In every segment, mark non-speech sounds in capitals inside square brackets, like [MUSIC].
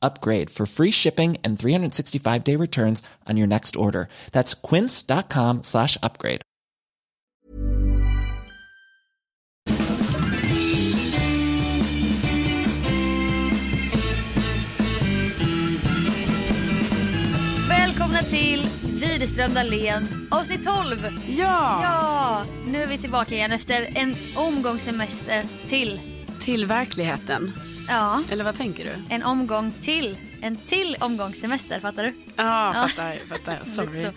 upgrade for free shipping and 365 day returns on your next order. That's quince.com slash upgrade. Välkomna till Widerström Dahlén, avsnitt 12. Ja! Ja, nu är vi tillbaka igen efter en omgång semester till. Till verkligheten. Ja, Eller vad tänker du? en omgång till. En till omgång semester, fattar du? Ja, Ja. fattar. [LAUGHS] fattar. Lite Sorry. så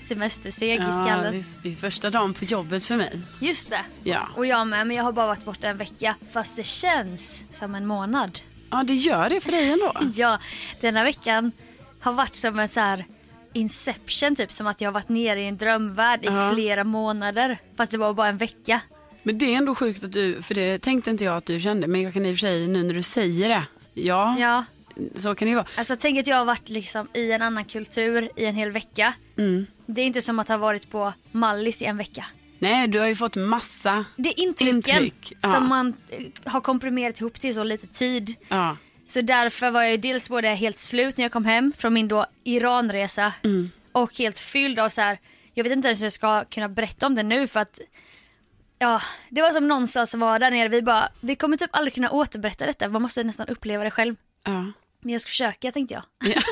semesterseg i Ja, skallen. visst, det är första dagen på jobbet för mig. Just det. Ja. Och jag med, men jag har bara varit borta en vecka. Fast det känns som en månad. Ja, det gör det för dig [LAUGHS] ändå. [LAUGHS] Ja, den här veckan har varit som en så här inception typ. Som att jag har varit nere i en drömvärld i flera månader. Fast det var bara en vecka. Men det är ändå sjukt att du, för det tänkte inte jag att du kände, men jag kan i och för sig nu när du säger det, ja, Ja. så kan det ju vara. Alltså tänk att jag har varit liksom i en annan kultur i en hel vecka. Det är inte som att ha varit på Mallis i en vecka. Nej, du har ju fått massa, Det är intrycken Intryck, ja. som man eh, har komprimerat ihop till så lite tid. ja, Så därför var jag ju dels både helt slut när jag kom hem från min då Iranresa och helt fylld av så här. jag vet inte ens hur jag ska kunna berätta om det nu för att ja, det var som någonstans som var där nere, vi bara, vi kommer typ aldrig kunna återberätta detta, man måste nästan uppleva det själv. ja. Men jag ska försöka tänkte jag. Ja,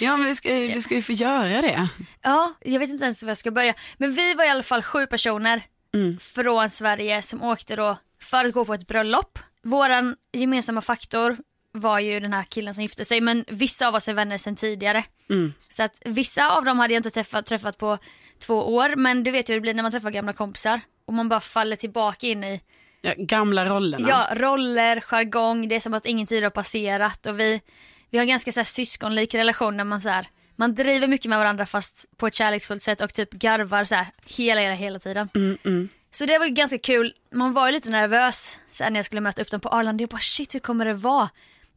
ja men vi ska, eh, du ska ju få göra det. Ja, jag vet inte ens var jag ska börja. Men vi var i alla fall sju personer från Sverige som åkte då för att gå på ett bröllop. Våran gemensamma faktor var ju den här killen som gifte sig men vissa av oss är vänner sedan tidigare. Så att vissa av dem hade jag inte träffat, träffat på två år men du vet ju hur det blir när man träffar gamla kompisar och man bara faller tillbaka in i Ja, gamla rollerna. ja, roller, jargong, det är som att ingen tid har passerat och vi, vi har en ganska så här, syskonlik relation när man så här, man driver mycket med varandra fast på ett kärleksfullt sätt och typ garvar så här hela, hela, hela tiden. Så det var ju ganska kul, man var ju lite nervös sen när jag skulle möta upp dem på Arlanda, jag bara shit hur kommer det vara?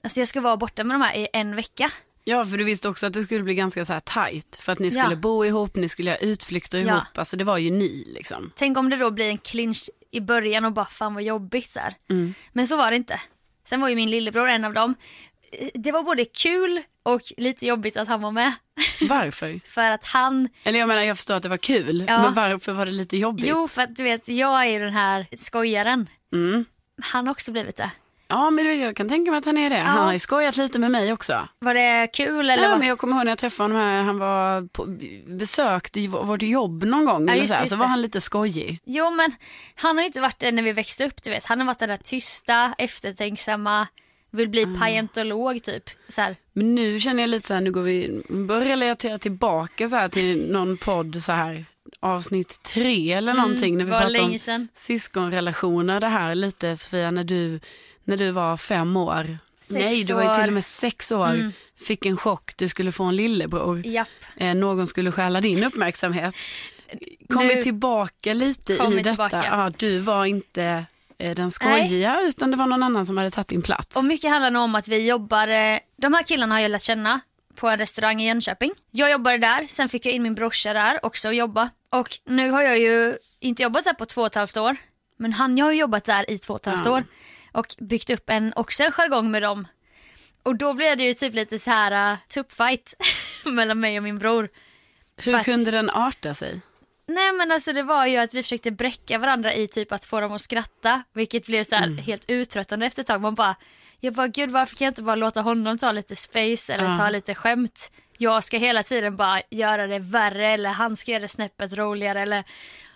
Alltså jag ska vara borta med de här i en vecka. Ja, för du visste också att det skulle bli ganska så här tajt. För att ni Ja. skulle bo ihop, ni skulle göra utflykter Ja. ihop. Alltså det var ju ni liksom. Tänk om det då blir en clinch i början och bara fan vad jobbigt så här. Mm. Men så var det inte. Sen var ju min lillebror en av dem. Det var både kul och lite jobbigt att han var med. [LAUGHS] Varför? För att han, Eller jag menar jag förstår att det var kul, Ja. men varför var det lite jobbigt? jo för att du vet jag är ju den här skojaren. Mm. Han har också blivit det. Ja men du vet, jag kan tänka mig att han är det. Han har ju skojat lite med mig också. Var det kul eller? ja, vad? men jag kommer ihåg när jag träffade honom här, han var på, besökte ju v- vårt jobb någon gång. eller just så, här, det, så just var det. han lite skojig. Jo men han har ju inte varit det när vi växte upp du vet. Han har varit den där tysta, eftertänksamma, vill bli Ah. paleontolog typ. Så här. Men nu känner jag lite så här, nu går vi, börjar relatera tillbaka så här till någon podd så här avsnitt tre eller någonting när vi var pratade Mm, länge om sedan. syskonrelationer det här lite Sofia när du, när du var fem år. Sex Nej, du var ju år. Mm. till och med sex år. Fick en chock, du skulle få en lillebror. Japp. Eh, någon skulle stjäla din uppmärksamhet. Kom Nu- vi tillbaka lite Kom i vi detta? tillbaka. Ja, du var inte eh, den skojiga utan det var någon annan som hade tagit din plats. Och mycket handlar nog om att vi jobbar, eh, de här killarna har jag lärt känna på en restaurang i Jönköping. Jag jobbade där, sen fick jag in min brorsa där också och jobba. Och nu har jag ju inte jobbat där på två och ett halvt år, men han jag har ju jobbat där i två och ett halvt Ja. år och byggt upp en, också en jargong med dem. Och då blev det ju typ lite så här uh, tuppfight [LAUGHS] mellan mig och min bror. Hur Faktiskt. kunde den arta sig? Nej men alltså det var ju att vi försökte bräcka varandra i typ att få dem att skratta vilket blev så här Mm. helt uttröttande efter ett tag. Man bara, jag bara gud varför kan jag inte bara låta honom ta lite space eller ta lite skämt. Jag ska hela tiden bara göra det värre eller han ska göra det snäppet roligare eller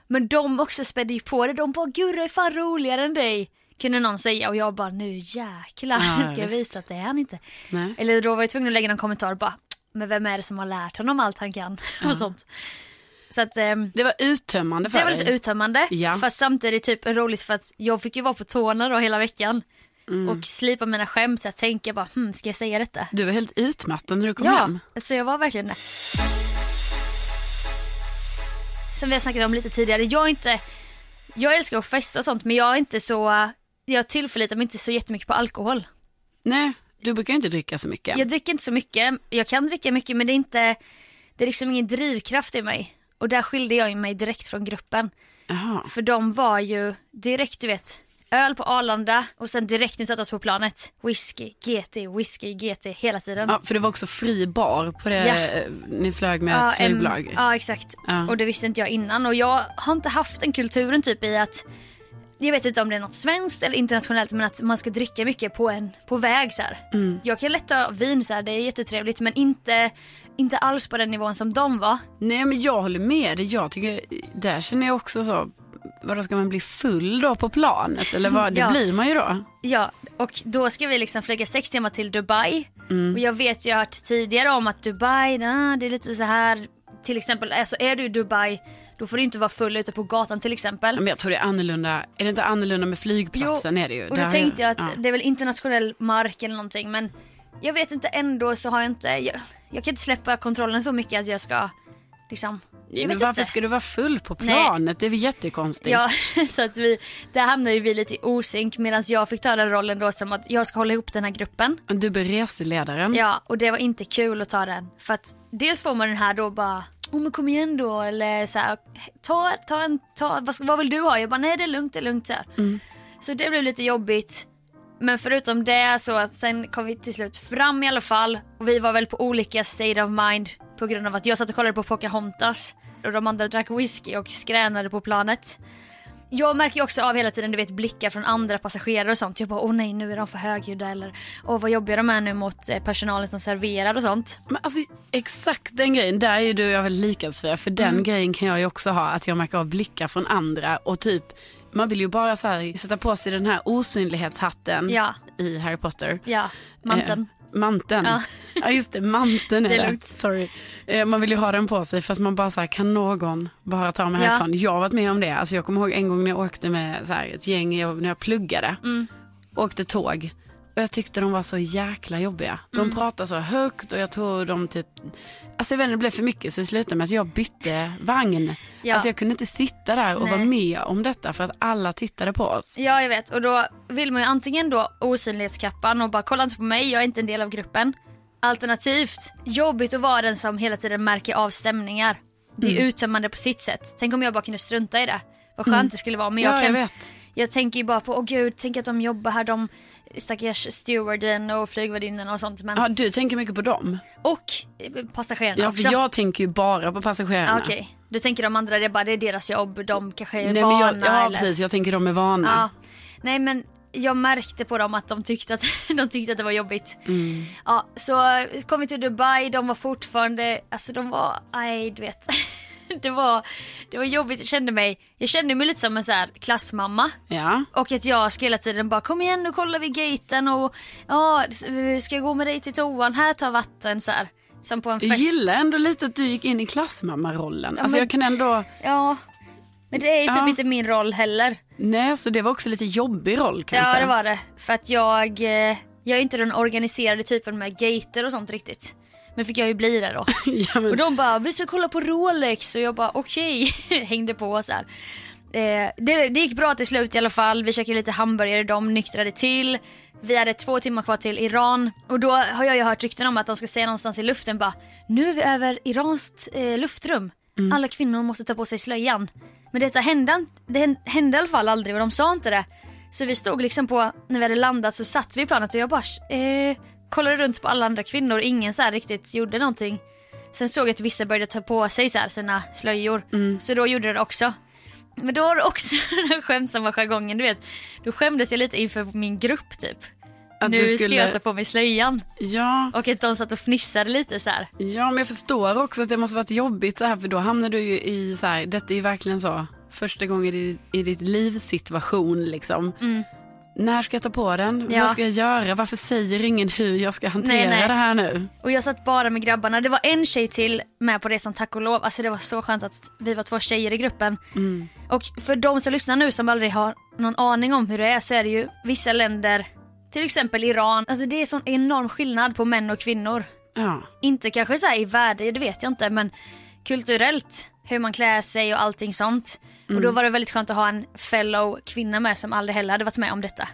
men de också spädde ju på det. De bara Gurra är fan roligare än dig. Kunde någon säga och jag bara nu jäklar Ja, ska jag visst. visa att det är han inte. Nej. Eller då var jag tvungen att lägga någon kommentar bara men vem är det som har lärt honom allt han kan [LAUGHS] och sånt. Så att ehm, Det var uttömmande för det var dig. lite uttömmande Ja. fast samtidigt typ roligt för att jag fick ju vara på tårna då hela veckan Mm. och slipa mina skämt så jag tänker bara hmm, ska jag säga detta? du var helt utmattad när du kom ja, hem. alltså jag var verkligen det. Som vi har snackat om lite tidigare, jag är inte, jag älskar att festa och sånt men jag är inte så, jag tillförlitar mig inte så jättemycket på alkohol. Nej, du brukar ju inte dricka så mycket. Jag dricker inte så mycket, jag kan dricka mycket men det är inte, det är liksom ingen drivkraft i mig. Och där skilde jag ju mig direkt från gruppen. Jaha. För de var ju direkt, du vet, öl på Arlanda och sen direkt när vi satte oss på planet, whisky, GT, whisky, GT hela tiden. Ja, för det var också fri bar på det Ja. eh, ni flög med Ja, ett em, flygbolag. ja, exakt. Ja. Och det visste inte jag innan och jag har inte haft den kulturen typ i att jag vet inte om det är något svenskt eller internationellt men att man ska dricka mycket på, en, på väg så här. Mm. Jag kan lätt ta vin så här, det är jättetrevligt men inte, inte alls på den nivån som de var. Nej men jag håller med dig. Jag tycker, där känner jag också så, vadå ska man bli full då på planet? Eller vad, [LAUGHS] det Ja. blir man ju då. Ja, och då ska vi liksom flyga sex timmar till Dubai. Mm. Och jag vet, jag har hört tidigare om att Dubai, nah, det är lite så här. Till exempel, alltså är du i Dubai, då får du inte vara full ute på gatan till exempel. Men jag tror det är annorlunda, är det inte annorlunda med flygplatsen? är det ju. och Där då har tänkte jag att ja. det är väl internationell mark eller någonting men jag vet inte ändå så har jag inte, jag, jag kan inte släppa kontrollen så mycket att jag ska liksom, jag men vet varför inte. ska du vara full på planet? Det är väl jättekonstigt. Ja, [LAUGHS] så att vi, där hamnade ju vi lite i osynk medan jag fick ta den rollen då som att jag ska hålla ihop den här gruppen. Du blir reseledaren. Ja, och det var inte kul att ta den. För att dels får man den här då bara, oh men kom igen då, eller så här, ta, ta en, ta, vad, ska- vad vill du ha? Jag bara, nej det är lugnt, det är lugnt så här. Så det blev lite jobbigt. Men förutom det så att sen kom vi till slut fram i alla fall och vi var väl på olika state of mind på grund av att jag satt och kollade på Pocahontas och de andra drack whisky och skränade på planet. Jag märker ju också av hela tiden du vet blickar från andra passagerare och sånt. Jag bara åh nej nu är de för högljudda eller åh vad jobbiga de är nu mot eh, personalen som serverar och sånt. Men alltså, exakt den grejen, där är ju du och jag väldigt lika Sofia, för den grejen kan jag ju också ha, att jag märker av blickar från andra och typ, man vill ju bara så här, sätta på sig den här osynlighetshatten Ja. i Harry Potter. Ja, manteln. Eh, manteln. Ja. Ja. just det, manteln [LAUGHS] är Det är det. lugnt. Sorry. Eh, man vill ju ha den på sig för att man bara så här, kan någon bara ta mig Ja. härifrån. Jag har varit med om det. Alltså, jag kommer ihåg en gång när jag åkte med så här, ett gäng jag- när jag pluggade. Mm. Åkte tåg. Och jag tyckte de var så jäkla jobbiga. De Mm. pratade så högt och jag tror de typ... Alltså jag vet inte, det blev för mycket så det slutade med att jag bytte vagn. Ja. Alltså jag kunde inte sitta där och Nej. vara med om detta för att alla tittade på oss. Ja jag vet och då vill man ju antingen då osynlighetskappan och bara kolla inte på mig, jag är inte en del av gruppen. Alternativt jobbigt att vara den som hela tiden märker av stämningar. Det Mm. är uttömmande på sitt sätt. Tänk om jag bara kunde strunta i det. Vad skönt det skulle vara men jag Mm. ja, kan jag vet. Jag tänker ju bara på, åh gud, tänk att de jobbar här, de stackars stewarden och flygvärdinnan och sånt. Men, Ja, du tänker mycket på dem. Och eh, passagerarna Ja, också. för jag tänker ju bara på passagerarna. Ah, Okej, du tänker de andra, det är bara det är deras jobb, de kanske är Nej, men vana jag, ja, eller... precis. Jag tänker de är vana. Ja. Nej men jag märkte på dem att de tyckte att, [LAUGHS] de tyckte att det var jobbigt. Mm. Ja, så eh, kom vi till Dubai, de var fortfarande, alltså de var, nej du vet. [LAUGHS] det, var, det var jobbigt, jag kände mig, jag kände mig lite som en så här klassmamma. Ja. Och att jag ska hela tiden bara kom igen nu kollar vi gaten och ja, ska jag gå med dig till toan, här tar vatten så här. Som på en Jag fest. gillar ändå lite att du gick in i klassmammarollen. Alltså men- jag kan ändå... Ja. Men det är ju typ Ja. inte min roll heller. Nej, så det var också lite jobbig roll kanske. Ja det var det. För att jag, eh, jag är inte den organiserade typen med gater och sånt riktigt. Men fick jag ju bli det då. [LAUGHS] ja, men, Och de bara, vi ska kolla på Rolex och jag bara okej, [LAUGHS] hängde på så här. Eh, det, det gick bra till slut i alla fall, vi käkade lite hamburgare, de nyktrade till. Vi hade två timmar kvar till Iran och då har jag ju hört rykten om att de ska säga någonstans i luften bara, nu är vi över Irans eh, luftrum. Alla kvinnor måste ta på sig slöjan. Men detta hände, an- det hän- hände i alla fall aldrig och de sa inte det. Så vi stod liksom på, när vi hade landat så satt vi i planet och jag bara eh, kollade runt på alla andra kvinnor, ingen så här riktigt gjorde någonting. Sen såg jag att vissa började ta på sig så här sina slöjor. Mm. Så då gjorde jag det också. Men då har du också [LAUGHS] den här skämtsamma jargongen, du vet. Då skämdes jag lite inför min grupp typ. Att nu du ska skulle- jag ta på mig slöjan. ja, Och att de satt och fnissade lite så här. ja, men jag förstår också att det måste varit jobbigt så här för då hamnar du ju i så här, detta är ju verkligen så, första gången i, i ditt liv situation liksom. När ska jag ta på den? Mm. Ja. Vad ska jag göra? Varför säger ingen hur jag ska hantera Nej, nej. det här nu? Och jag satt bara med grabbarna. Det var en tjej till med på resan tack och lov. Alltså det var så skönt att vi var två tjejer i gruppen. Mm. Och för de som lyssnar nu som aldrig har någon aning om hur det är så är det ju vissa länder, till exempel Iran. Alltså det är sån enorm skillnad på män och kvinnor. Ja. Inte kanske så här i värde, det vet jag inte, men kulturellt. Hur man klär sig och allting sånt. Och då Mm. var det väldigt skönt att ha en fellow kvinna med som aldrig heller hade varit med om detta.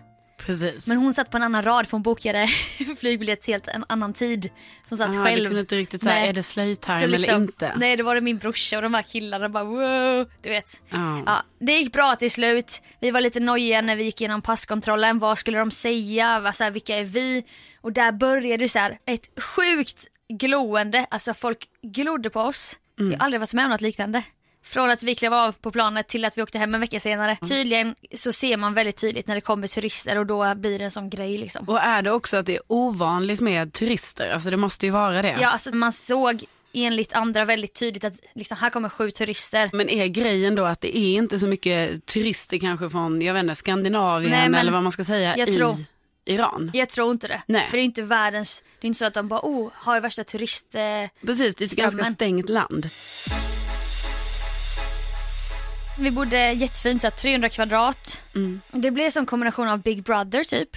Precis. Men hon satt på en annan rad för hon bokade [LAUGHS] flygbiljett till helt en annan tid. Som satt Aha, själv. Du Ah, kunde inte riktigt säga, Nej. är det Så slöjtarm liksom, eller inte? Nej, det var det min brorsa och de här killarna bara wow, du vet. Ja. Ja, det gick bra till slut. Vi var lite nojiga när vi gick igenom passkontrollen. Vad skulle de säga? Vad, så här, vilka är vi? Och där började det så här, ett sjukt glående. Alltså folk glodde på oss. Mm. Jag har aldrig varit med om något liknande. Från att vi klev av på planet till att vi åkte hem en vecka senare. Tydligen så ser man väldigt tydligt när det kommer turister och då blir det en sån grej liksom. Och är det också att det är ovanligt med turister? Alltså det måste ju vara det. Ja, alltså man såg enligt andra väldigt tydligt att liksom, här kommer sju turister. Men är grejen då att det är inte så mycket turister kanske från, jag vet inte, Skandinavien Nej, men eller vad man ska säga jag i tror- Iran? Jag tror inte det. Nej. För det är inte världens, det är inte så att de bara oh, har värsta turist... eh." Precis, det är ett Strömmen. ganska stängt land. Vi bodde jättefint, så här, 300 kvadrat. Mm. Det blev som kombination av Big Brother typ.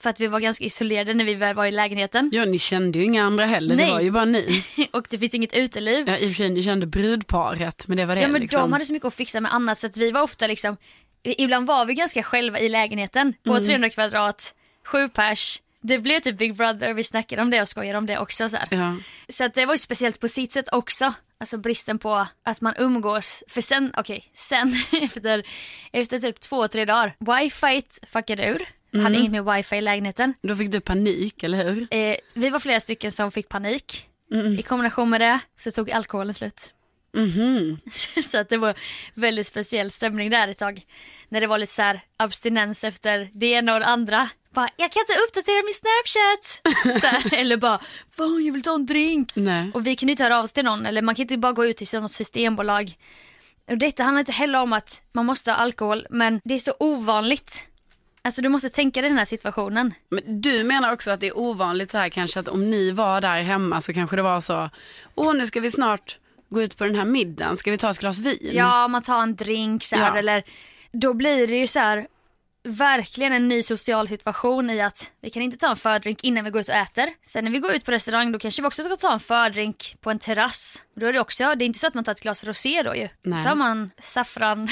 För att vi var ganska isolerade när vi väl var i lägenheten. [LAUGHS] Ja, ni kände ju inga andra heller, Nej. det var ju bara ni. Och det finns inget uteliv. Ja, I och för sig, ni kände brudparet, men det var det Ja men liksom. de hade så mycket att fixa med annat så att vi var ofta liksom, ibland var vi ganska själva i lägenheten på Mm. 300 kvadrat, sju pers. Det blev typ Big Brother, vi snackade om det och skojade om det också. Så, här. Ja. så att det var ju speciellt på sitt sätt också. Alltså bristen på att man umgås. För sen, okej, sen [LAUGHS] efter, efter typ två, tre dagar. Wifi fuckade ur. Hade inget med wifi i lägenheten. Då fick du panik, eller hur? Eh, vi var flera stycken som fick panik. I kombination med det så tog alkoholen slut. [LAUGHS] så att det var väldigt speciell stämning där ett tag. När det var lite så här abstinens efter det ena och det andra. Bara, jag kan inte uppdatera min Snapchat. [LAUGHS] så här, eller bara, fan jag vill ta en drink. Nej. Och vi kunde inte höra av oss till någon, eller man kan inte bara gå ut till något systembolag. Och detta handlar inte heller om att man måste ha alkohol, men det är så ovanligt. Alltså du måste tänka dig den här situationen. Men du menar också att det är ovanligt så här kanske att om ni var där hemma så kanske det var så, åh nu ska vi snart gå ut på den här middagen, ska vi ta ett glas vin? Ja, man tar en drink så här, Mm. Ja. eller då blir det ju så här verkligen en ny social situation i att vi kan inte ta en fördrink innan vi går ut och äter. Sen när vi går ut på restaurang då kanske vi också ska ta en fördrink på en terrass. Då är det också, det är inte så att man tar ett glas rosé då ju. Nej. Så har man saffran. [LAUGHS]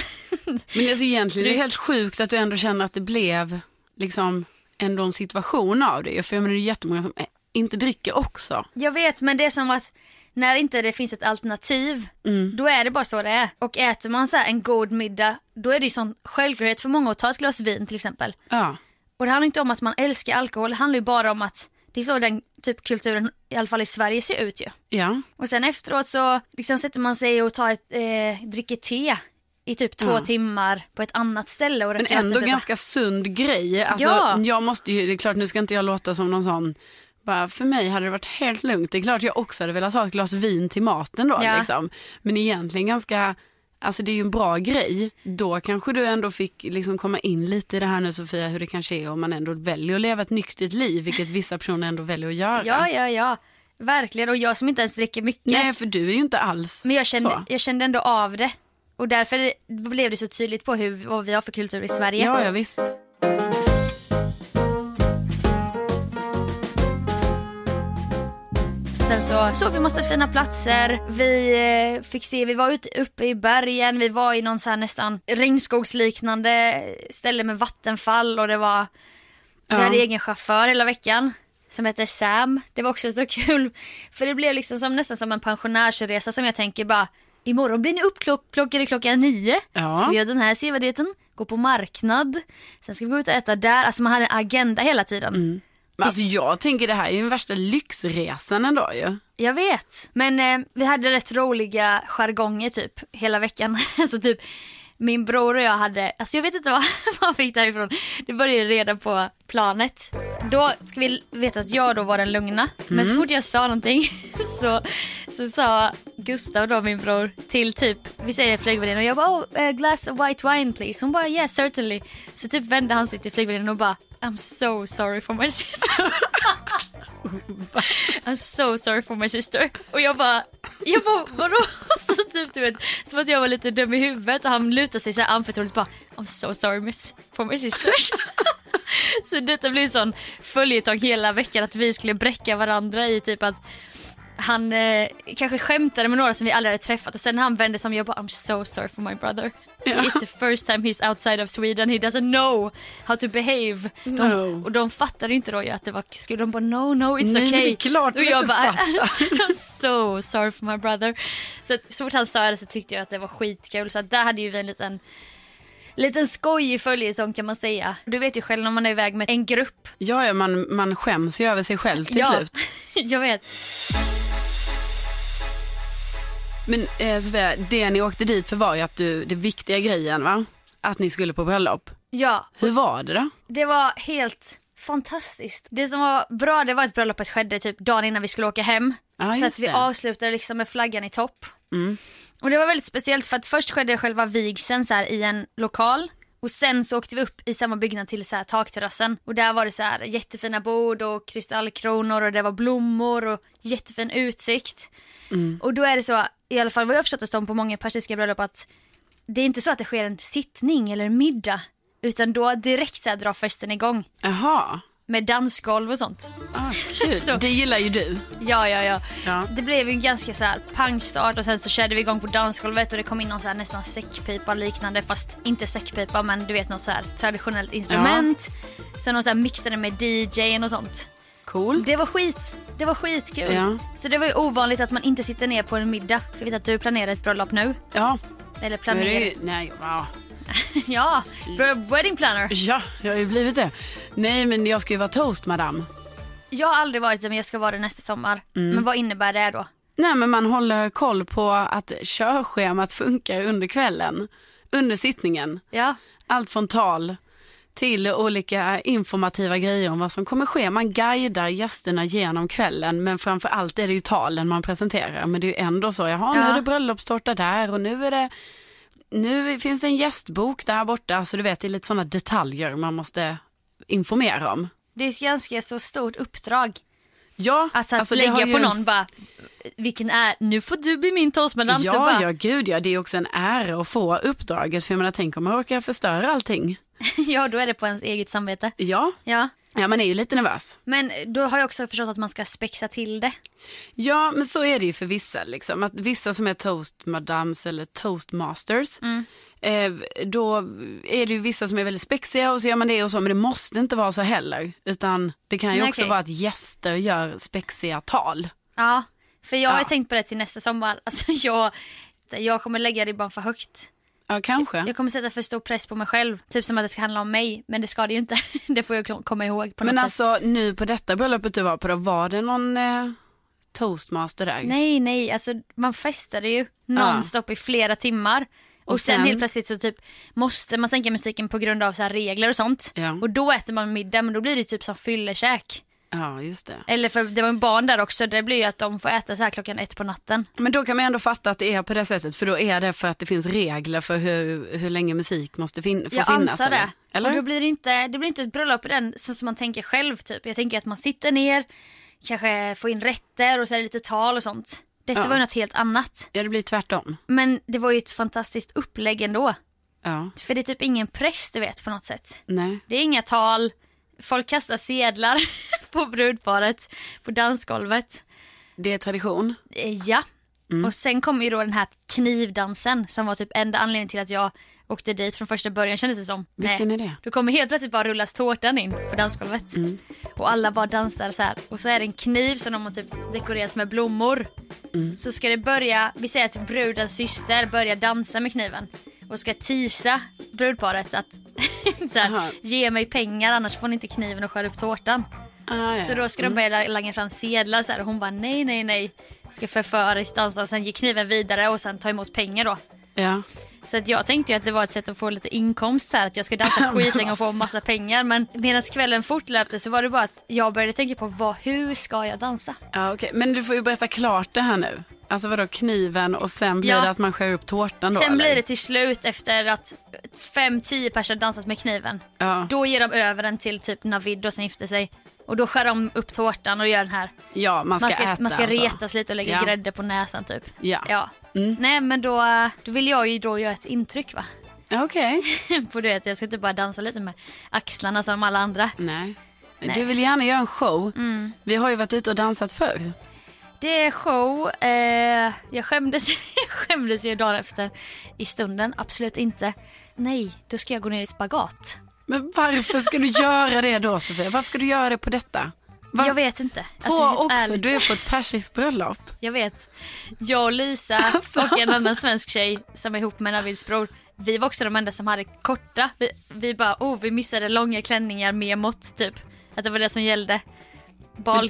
Men alltså egentligen är det helt sjukt att du ändå känner att det blev liksom ändå en situation av det. För jag menar det är jättemånga som eh, inte dricker också. Jag vet men det är som att när inte det finns ett alternativ Mm. då är det bara så det är. Och äter man så här en god middag då är det ju sån självklarhet för många att ta ett glas vin till exempel. Ja, Och det handlar inte om att man älskar alkohol, det handlar ju bara om att det är så den typ kulturen, i alla fall i Sverige, ser ut ju. ja. Och sen efteråt så liksom sätter man sig och tar ett, eh, dricker te i typ två Ja. timmar på ett annat ställe. Och men röker ändå efter- ganska sund grej. Alltså, Ja. Jag måste ju, det är klart nu ska inte jag låta som någon sån Bara, för mig hade det varit helt lugnt. Det är klart jag också hade velat ha ett glas vin till maten då. Ja. Liksom. Men egentligen ganska, alltså det är ju en bra grej. Då kanske du ändå fick liksom komma in lite i det här nu Sofia, hur det kanske är om man ändå väljer att leva ett nyktert liv, vilket vissa personer ändå väljer att göra. Ja, ja, ja. Verkligen. Och jag som inte ens dricker mycket. Nej, för du är ju inte alls Men jag så. kände, jag kände ändå av det. Och därför blev det så tydligt på hur, vad vi har för kultur i Sverige. Ja, ja visst. Sen så såg vi massa fina platser. Vi eh, fick se, vi var ute uppe i bergen, vi var i någon så här nästan regnskogsliknande ställe med vattenfall och det var, vi Ja. hade egen chaufför hela veckan som hette Sam. Det var också så [LAUGHS] kul för det blev liksom som, nästan som en pensionärsresa som jag tänker bara Imorgon blir ni upplockade klockan nio. Ja. Så vi gör den här CV-dieten, går på marknad. Sen ska vi gå ut och äta där. Alltså man hade en agenda hela tiden. Men alltså jag tänker det här är ju den värsta lyxresan ändå ju. Jag vet. Men eh, vi hade rätt roliga jargonger typ hela veckan. [LAUGHS] alltså typ min bror och jag hade, alltså jag vet inte vad [LAUGHS] man fick därifrån. Det började ju redan på planet. Då ska vi veta att jag då var den lugna. Men så fort jag sa någonting [LAUGHS] så, så sa Gustav då min bror till typ, vi säger flygvärdinnan och jag bara oh, a glass of white wine please. Hon bara yeah certainly. Så typ vände han sig till flygvärdinnan och bara I'm so sorry for my [LAUGHS] sister. I'm so sorry for my sister. Och jag bara, jag bara vadå? [LAUGHS] Så typ du vet, som att jag var lite dum i huvudet och han lutade sig så här anförtroligt bara I'm so sorry miss, for my sister. så detta blev en sån följetong hela veckan att vi skulle bräcka varandra i typ att han eh, kanske skämtade med några som vi aldrig hade träffat och sen när han vände sig om jag bara I'm so sorry for my brother. It's the first time he's outside of Sweden, he doesn't know how to behave. De, No. Och de fattade inte då ju att det var skulle de bara no no it's Nej, men okay. det är klart de och jag inte bara [LAUGHS] fattar. I'm so sorry for my brother. Så, att, så fort han sa det så tyckte jag att det var skitkul så att där hade ju vi en liten Liten skojig följetong kan man säga. Du vet ju själv när man är iväg med en grupp. Ja, ja man, man skäms ju över sig själv till slut. [LAUGHS] jag vet. Men eh, Sofia, det ni åkte dit för var ju att du, det viktiga grejen va? Att ni skulle på bröllop. Ja, Hur var det då? Det var helt fantastiskt. Det som var bra det var att bröllopet skedde typ dagen innan vi skulle åka hem. Ja, så just att vi det. Mm. avslutade liksom med flaggan i topp. Och det var väldigt speciellt för att först skedde själva vigseln så här i en lokal. Och sen så åkte vi upp i samma byggnad till så här takterrassen. Och där var det så här jättefina bord och kristallkronor och det var blommor och jättefin utsikt. Mm. Och då är det så, i alla fall vad jag har förstått det som på många persiska bröllop att det är inte så att det sker en sittning eller en middag. Utan då direkt så här drar festen igång Jaha, med dansgolv och sånt. ah, kul. Så. Det gillar ju du. Ja, ja, ja. Ja. Det blev ju en ganska så här pangstart och sen så körde vi igång på dansgolvet och det kom in någon så här nästan säckpipa liknande fast inte säckpipa men du vet något så här traditionellt instrument. Sen de så här mixade med DJn och sånt. Cool. Det var skit. Det var skitkul. Ja. Så det var ju ovanligt att man inte sitter ner på en middag. För jag vet att du planerar ett bröllop nu. Ja, Eller då är planerar... det ju, nej, ja. [LAUGHS] ja, bro- wedding planner. ja, jag har ju blivit det. Nej, men jag ska ju vara toast madam. Jag har aldrig varit det men jag ska vara det nästa sommar. Mm. Men vad innebär det då? Nej, men man håller koll på att körschemat funkar under kvällen, under sittningen. Ja, Allt från tal till olika informativa grejer om vad som kommer ske. Man guidar gästerna genom kvällen men framför allt är det ju talen man presenterar. Men det är ju ändå så, jaha nu Ja. är det bröllopstårta där och nu är det nu finns det en gästbok där borta. Så du vet det är lite sådana detaljer man måste informera om. det är ett ganska så stort uppdrag. Ja, Alltså att det har lägga ju- på någon bara, vilken är, nu får du bli min toastmadam. så Ja, bara, ja, gud ja, det är också en ära att få uppdraget. För jag menar, tänk om man råkar förstöra allting. [LAUGHS] ja, då är det på ens eget samvete. Ja, Ja, ja man är ju lite nervös. men då har jag också förstått att man ska spexa till det. Ja, men så är det ju för vissa. Liksom. Att vissa som är toastmadams eller toastmasters, Mm. eh, då är det ju vissa som är väldigt spexiga och så gör man det och så, men det måste inte vara så heller. Utan det kan ju Nej, också okej. vara att gäster gör spexiga tal. Ja, för jag har Ja. tänkt på det till nästa sommar. [LAUGHS] Alltså jag, jag kommer lägga ribban för högt. Ja, kanske. Jag kommer sätta för stor press på mig själv. Typ som att det ska handla om mig, men det ska det ju inte. [LAUGHS] det får jag komma ihåg på något men sätt. alltså nu på detta bröllopet du var på, då, var det någon eh, toastmaster där? Nej, nej, alltså man festade ju nonstop i flera timmar. Och, Och sen, sen? helt plötsligt så typ måste man sänka musiken på grund av så här regler och sånt. Ja. Och då äter man middag men då blir det typ som fyllekäk. Ja, just det. Eller för det var ju barn där också, det blir ju att de får äta så här klockan ett på natten. Men då kan man ändå fatta att det är på det sättet, för då är det för att det finns regler för hur, hur länge musik måste fin- få jag finnas. antar det. eller? Eller? Och då blir det, inte, det blir inte ett bröllop i den så som man tänker själv typ. Jag tänker att man sitter ner, kanske får in rätter och så är det lite tal och sånt. Detta Ja. var ju något helt annat. Ja, det blir tvärtom. Men det var ju ett fantastiskt upplägg ändå. Ja, För det är typ ingen press du vet på något sätt. nej. Det är inga tal, folk kastar sedlar [LAUGHS] på brudparet, på dansgolvet. Det är tradition. Eh, Ja. Mm. Och sen kom ju då den här knivdansen som var typ enda anledningen till att jag åkte dit från första början kändes det som. Vilken är det? Mm. Då kommer helt plötsligt bara rullas tårtan in på dansgolvet. Och alla bara dansar så här. Och så är det en kniv som de har typ dekorerat med blommor. Mm. Så ska det börja, vi säger att brudens syster börjar dansa med kniven. Och ska tisa brudparet att [LAUGHS] så Aha. här, ge mig pengar annars får ni inte kniven och skär upp tårtan. Ah, ja. Så då ska de börja la- langa fram sedlar så här, och hon bara nej, nej, nej. Ska förföriskt dansa och sen ge kniven vidare och sen ta emot pengar då. ja. Så att jag tänkte ju att det var ett sätt att få lite inkomst så här, att jag skulle [LAUGHS] dansa skitlänge och få massa pengar. Men medan kvällen fortlöpte så var det bara att jag började tänka på vad, hur ska jag dansa? ja okej. Men du får ju berätta klart det här nu. Alltså vadå, kniven och sen blir Ja. det att man skär upp tårtan då? Sen eller? blir det till slut efter att fem, tio personer dansat med kniven. Ja. Då ger de över den till typ Navid och som gifter sig. Och då skär de upp tårtan och gör den här Ja, man ska, man ska, äta. man ska alltså. retas lite och lägga Ja. grädde på näsan typ. Ja. Mm. ja. Nej men då, då vill jag ju då göra ett intryck va. [LAUGHS] Ja, Okej. på du vet, jag ska typ bara dansa lite med axlarna som alla andra. Nej. Du vill gärna göra en show. Mm. Vi har ju varit ute och dansat förr. Det är show. Eh, jag, skämdes, jag skämdes ju [LAUGHS] dagen efter. I stunden, absolut inte. Nej, då ska jag gå ner i spagat. Men varför ska du göra det då Sofia? Varför ska du göra det på detta? Var- Jag vet inte. På Alltså, helt också, ärligt. du är på ett persiskt bröllop. Jag vet. Jag och [LAUGHS] Lisa Alltså. och en annan svensk tjej som är ihop med Navids bror. Vi var också de enda som hade korta. Vi, vi bara, oh vi missade långa klänningar memot typ. Att det var det som gällde.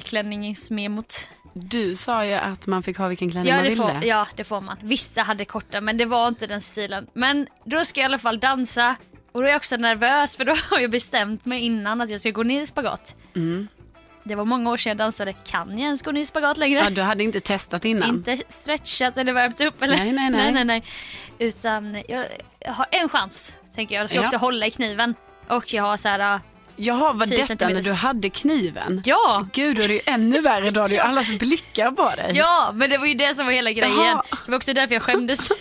Balklänningsmemot. Du sa ju att man fick ha vilken klänning Ja man det, ville. får, ja det får man. Vissa hade korta men det var inte den stilen. Men då ska jag i alla fall dansa. Och då är jag också nervös för då har jag bestämt mig innan att jag ska gå ner i spagat. Mm. Det var många år sedan jag dansade. Kan jag ens gå ner i spagat längre? Ja, du hade inte testat innan. Inte stretchat eller värmt upp eller? Nej, nej, nej. [LAUGHS] nej, Utan jag, jag har en chans, tänker jag. Jag ska Ja. också hålla i kniven. Och jag har så här, äh, Jaha, var 10 detta när centimeters. du hade kniven? ja, [LAUGHS] Gud, då är det ju ännu värre. Då har du ju allas blickar på dig. ja, men det var ju det som var hela grejen. Jaha. Det var också därför jag skämdes [LAUGHS]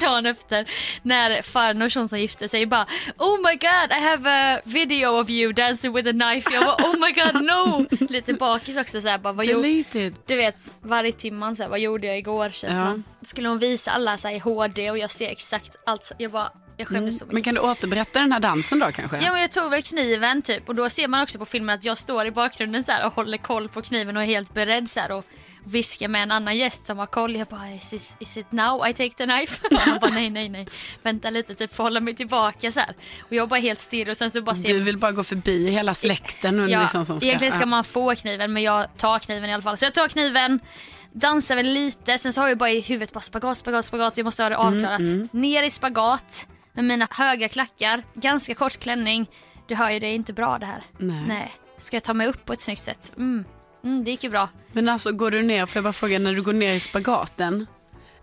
dagen efter. När farnors hon som gifte sig bara, oh my god, I have a video of you dancing with a knife. Jag bara, oh my god, [LAUGHS] no. Lite bakis också så här, bara, vad gjorde Deleted. Du vet, varje timman så här, vad gjorde jag igår känslan. Skulle hon visa alla så här, i HD och jag ser exakt allt. Jag bara, jag skämdes så mycket. Mm, Men kan du återberätta den här dansen då kanske? Ja men jag tog väl kniven typ och då ser man också på filmen att jag står i bakgrunden så här och håller koll på kniven och är helt beredd så här och viskar med en annan gäst som har koll. Jag bara is, this, is it now I take the knife? [LAUGHS] Och han bara nej nej nej vänta lite typ får hålla mig tillbaka så här. Och jag bara helt still och sen så bara ser Du vill bara gå förbi hela släkten. Och Ja, liksom som ska, egentligen ska ja. man få kniven men jag tar kniven i alla fall. Så jag tar kniven, dansar väl lite, sen så har jag bara i huvudet bara spagat, spagat, spagat. Jag måste ha det Mm, avklarat. Ner i spagat med mina höga klackar, ganska kort klänning. Du hör ju, det är inte bra det här. Nej. Ska jag ta mig upp på ett snyggt sätt? Mm. Mm, det gick ju bra. Men alltså går du ner, får jag bara fråga, när du går ner i spagaten?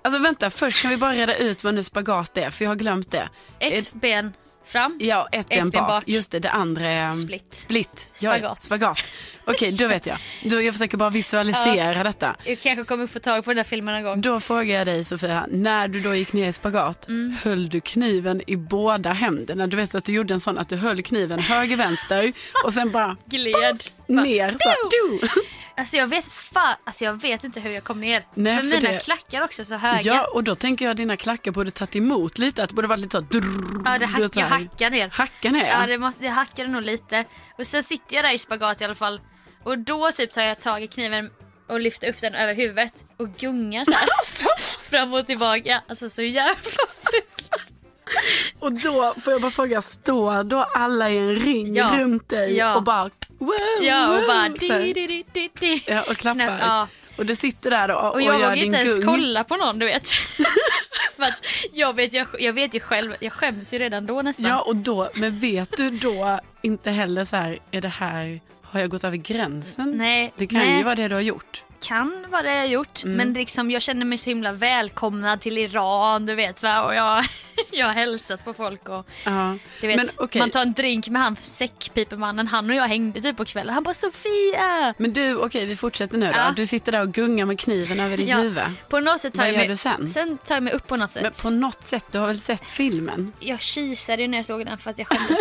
Alltså vänta, först kan vi bara reda ut vad nu spagat är, för jag har glömt det. Ett, ben fram. ja, ett, ben, bak. Just det, det andra är... Split. Split. Ja, Spagat. ja, spagat. Okej, då vet jag. Då, jag försöker bara visualisera detta. Jag kanske kommer få tag på den där filmen någon gång. Då frågar jag dig Sofia, när du då gick ner i spagat, höll du kniven i båda händerna? Du vet så att du gjorde en sån att du höll kniven höger, vänster och sen bara [LAUGHS] Gled. ner. Så, här, du. Alltså jag vet fa- alltså jag vet inte hur jag kom ner. Nej, för, för mina det- klackar också så höga. Ja, och då tänker jag att dina klackar borde tagit emot lite, att det borde varit lite så drrrr, Ja, det hack, så jag här. hackar ner. Hackar ner? Ja, det, måste, det hackade nog lite. Och sen sitter jag där i spagat i alla fall. Och då typ tar jag tag i kniven och lyfter upp den över huvudet och gungar [LAUGHS] så här. Alltså. fram och tillbaka. Alltså så jävla fult. Och då får jag bara fråga, står då alla i en ring Ja. runt dig Ja. och bara wow, Ja, och wow, bara så här. di, di, di, di, di. Ja, och klappar. Knä- Ja. Och du sitter där då och, Och jag gör vågar ju din inte ens gung. kolla på någon du [LAUGHS] vet. För att jag vet, jag, jag vet ju själv, jag skäms ju redan då nästan. Ja, och då, men vet du då inte heller så här, är det här, har jag gått över gränsen? Nej, Det kan nej. ju vara det du har gjort. kan vara det jag gjort. Mm. Men liksom, jag känner mig så himla välkomnad till Iran, du vet va. Och jag, [LAUGHS] jag har hälsat på folk och Ja. du vet, Men okej. man tar en drink med han säckpipemannen. Han och jag hängde typ på kvällen. Han bara Sofia! Men du, okej vi fortsätter nu då. Ja. Du sitter där och gungar med kniven över ditt Ja, huvud. På något sätt tar Vad jag gör mig, du sen? tar jag mig upp på något sätt. Men på något sätt, du har väl sett filmen? Jag kisade ju när jag såg den för att jag [LAUGHS] skämdes.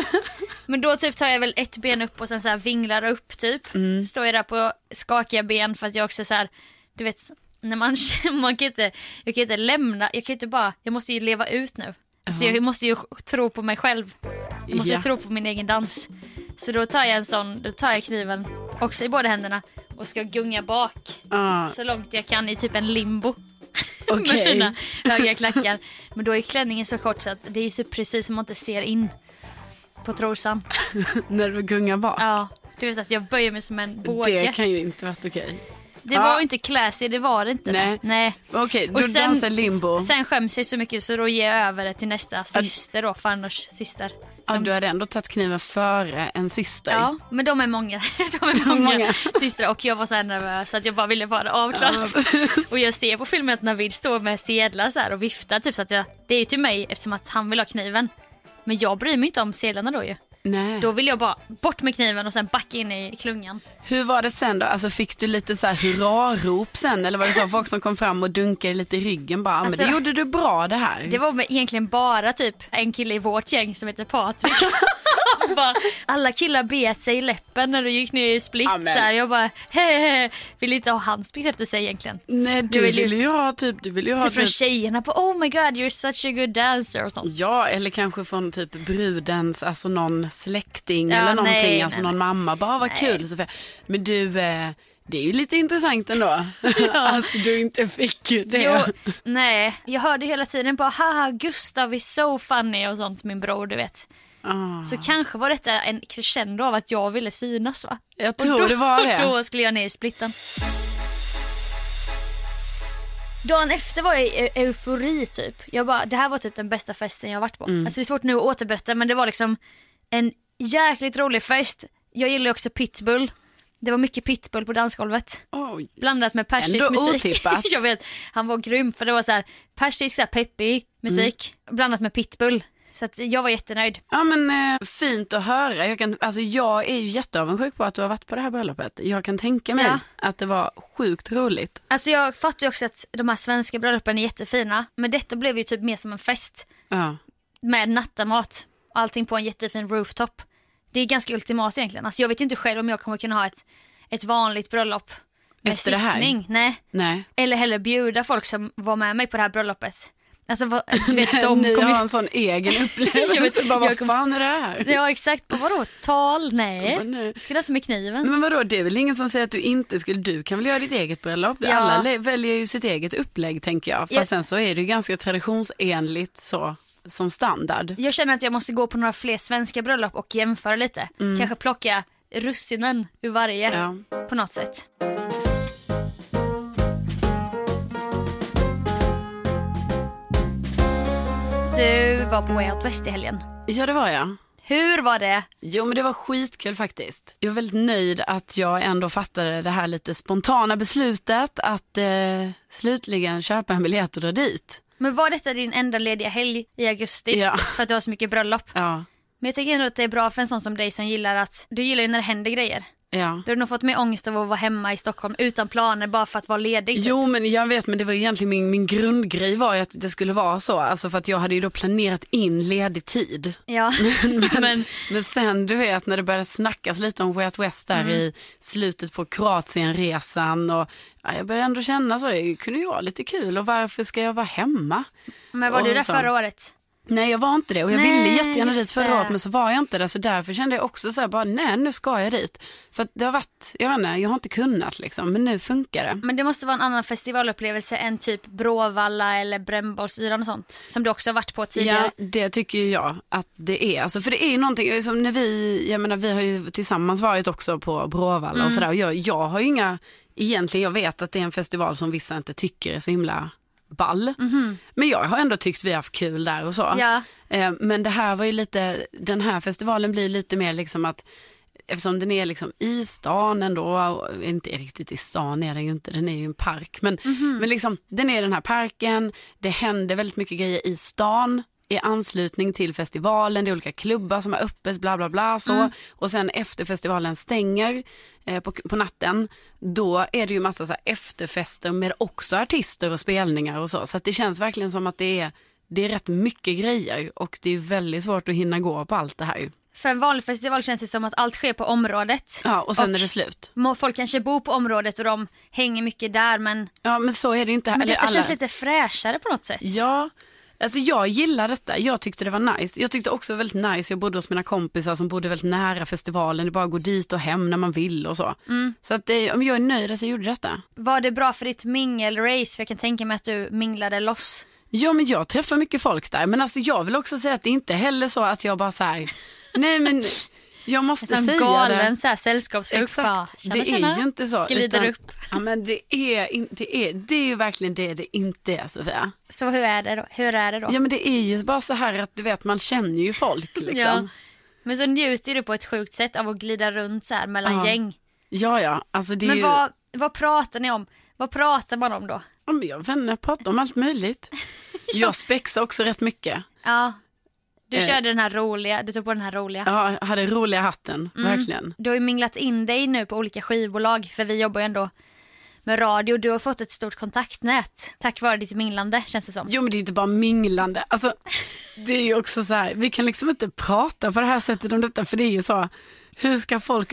Men då typ tar jag väl ett ben upp och sen så här vinglar upp typ. Mm. Står jag där på skakiga ben för att jag också så här, du vet, när man, [LAUGHS] man kan inte, jag kan inte lämna, jag kan inte bara, jag måste ju leva ut nu. Så jag måste ju tro på mig själv. Jag måste Ja. tro på min egen dans. Så då tar jag en sån, då tar jag kniven också i båda händerna och ska gunga bak [LAUGHS] Ja, så långt jag kan i typ en limbo. Okej. Med mina höga klackar. Men då är klänningen så kort så att det är ju så precis som man inte ser in på trosan. när du gungar bak. Ja, du vet att jag böjer mig som en båge. det Det, kan ju inte varit okej. var Ja. inte classy, det var det inte. Nej. Nej. Okej, då dansar limbo. sen skäms jag så mycket så då ger jag över det till nästa syster då, Farnors syster. ja, du hade ändå tagit kniven före en syster. Ja, men de är många, [LAUGHS] de är många, [LAUGHS] Många. systrar och jag var så här nervös att jag bara ville få det avklarat. Och jag ser på filmen att Navid står med sedlar så här och viftar typ så att jag, det är ju till mig eftersom att han vill ha kniven. Men jag bryr mig inte om sedlarna då ju. [LAUGHS] Nej. Då vill jag bara bort med kniven och sen backa in i klungan. Hur var det sen då? Alltså, fick du lite så här hurrarop sen? Eller [LAUGHS] var det så folk som kom fram och dunkade lite i ryggen bara, "Ah, Alltså- men det gjorde du bra det här. Det var väl egentligen bara typ en kille i vårt gäng som heter Patrik. [LAUGHS] som bara, alla killar bet sig i läppen när du gick ner i split. Amen. Så här, jag bara, hehehe, vill inte ha hans bekräftelse egentligen. Nej, du, Du vill ju- ville ju ha typ, du ville ju ha Typ från typ, tjejerna på oh my god you're such a good dancer och sånt. Ja, eller kanske från typ brudens, alltså någon släkting Ja, eller någonting, nej, alltså nej, någon mamma. Bara vad kul Sofia. Men du, eh, det är ju lite [LAUGHS] intressant ändå [LAUGHS] att du inte fick det. Jo, nej. Jag hörde hela tiden bara haha Gustav is so funny och sånt min bror du vet. Ah, Så kanske var detta en crescendo av att jag ville synas va? jag Och tror då, det var det. Och [LAUGHS] då skulle jag ner i splitten. Dagen efter var jag i eu- eufori typ. Jag bara, det här var typ den bästa festen jag varit på. Mm. Alltså det är svårt nu att återberätta men det var liksom en jäkligt rolig fest. Jag gillar ju också pitbull. Det var mycket pitbull på dansgolvet. Oj. Blandat med persisk Ändå musik. otippat. [LAUGHS] jag vet, han var grym för det var så här persisk så här peppig musik Mm. blandat med pitbull. Så att jag var jättenöjd. Ja men eh, fint att höra. Jag, kan, alltså, jag är ju jätteavundsjuk på att du har varit på det här bröllopet. Jag kan tänka mig Ja. att det var sjukt roligt. Alltså jag fattar ju också att de här svenska bröllopen är jättefina men detta blev ju typ mer som en fest Ja. med nattamat och allting på en jättefin rooftop. Det är ganska ultimat egentligen. Alltså jag vet ju inte själv om jag kommer kunna ha ett, ett vanligt bröllop med Efter det här? sittning. Nej. Nej. Eller heller bjuda folk som var med mig på det här bröllopet. Alltså [LAUGHS] vad, du vet [LAUGHS] de Ni kommer har ju... en sån Jag egen vet- upplevelse. bara, jag vad kom- fan är det här? [LAUGHS] Ja exakt, på vadå? Tal? Nej. Åh, nej. Jag ska dansa med kniven. Men vadå, det är väl ingen som säger att du inte skulle, du kan väl göra ditt eget bröllop? Ja. Alla le- väljer ju sitt eget upplägg tänker jag. Fast Jag- sen så är det ju ganska traditionsenligt så, som standard. Jag känner att jag måste gå på några fler svenska bröllop och jämföra lite. Mm. Kanske plocka russinen ur varje Ja. på något sätt. Du var på Way Out West i helgen. Ja, det var jag. Hur var det? Jo, men det var skitkul faktiskt. Jag är väldigt nöjd att jag ändå fattade det här lite spontana beslutet att eh, slutligen köpa en biljett och dra dit. Men var detta din enda lediga helg i augusti? Ja. För att du har så mycket bröllop. Ja, Men jag tycker ändå att det är bra för en sån som dig som gillar att, du gillar ju när det händer grejer. ja. Du har nog fått mer ångest av att vara hemma i Stockholm utan planer bara för att vara ledig. typ. Jo men jag vet men det var ju egentligen min, min grundgrej var ju att det skulle vara så. Alltså för att jag hade ju då planerat in ledig tid. [LAUGHS] Ja. Men, Men sen du vet när det började snackas lite om Way Out West där i slutet på Kroatienresan och ja, jag började ändå känna så det kunde ju vara lite kul och varför ska jag vara hemma? men var Och du där så. förra året? Nej jag var inte det och jag Nej, ville jättegärna just dit förra det. året men så var jag inte där så därför kände jag också så här bara nej nu ska jag dit. För att det har varit, jag vet inte, jag har inte kunnat liksom men nu funkar det. Men det måste vara en annan festivalupplevelse än typ Bråvalla eller Brännbollsyran och sånt. Som du också har varit på tidigare. Ja, det tycker ju jag att det är. Alltså, för det är ju någonting, som när vi, jag menar vi har ju tillsammans varit också på Bråvalla Mm. och sådär. Och jag, jag har ju inga, egentligen jag vet att det är en festival som vissa inte tycker är så himla ball. Men jag har ändå tyckt vi har haft kul där och så. Mhm. Ja. Eh, Men det här var ju lite, den här festivalen blir lite mer liksom att eftersom den är liksom i stan ändå, och inte riktigt i stan är den ju inte, den är ju en park. Men, men liksom, den är i den här parken, det händer väldigt mycket grejer i stan i anslutning till festivalen, det är olika klubbar som har öppet, bla bla bla. Så. Och sen efter festivalen stänger eh, på, på natten, då är det ju massa så här efterfester med också artister och spelningar och så. Så att det känns verkligen som att det är, det är rätt mycket grejer och det är väldigt svårt att hinna gå på allt det här. För en vanlig festival känns det som att allt sker på området. Ja, och sen är det slut. Må- Folk kanske bor på området och de hänger mycket där men, Ja, men så är det ju inte. här. men Eller detta känns lite fräschare på något sätt. Ja, alltså jag gillar detta. Jag tyckte det var nice. Jag tyckte också det var väldigt nice, jag bodde hos mina kompisar som bodde väldigt nära festivalen. Det är bara att gå dit och hem när man vill och så. Mm. Så att det, ja, men jag är nöjd att jag gjorde detta. Var det bra för ditt mingelrace? För jag kan tänka mig att du minglade loss. Ja men jag träffar mycket folk där. Men alltså jag vill också säga att det är inte heller så att jag bara [LAUGHS] så här, nej men jag måste En sån säga galen det. så här sällskapsgrupp. bara, Exakt, tjena, det tjena. är ju inte så. Glider upp. Ja, men det, är, in- det, är, det är ju verkligen det det inte är Sofia. Så hur är det då? Hur är det då? Ja men det är ju bara så här att du vet man känner ju folk [LAUGHS] liksom. Ja. Men så njuter du på ett sjukt sätt av att glida runt så här mellan Ja, gäng. Ja, ja. Alltså det är Men ju... vad, vad pratar ni om? Vad pratar man om då? Ja, men jag och vänner pratar om allt möjligt. [LAUGHS] Jag spexar också rätt mycket. Ja. Du Eh. körde den här roliga, du tog på den här roliga. Ja, Jag hade roliga hatten, Mm. verkligen. Du har ju minglat in dig nu på olika skivbolag för vi jobbar ju ändå med radio. Du har fått ett stort kontaktnät tack vare ditt minglande känns det som. Jo, men det är inte bara minglande. [LAUGHS] Alltså, det är ju också så här, vi kan liksom inte prata på det här sättet om detta, för det är ju så, hur ska folk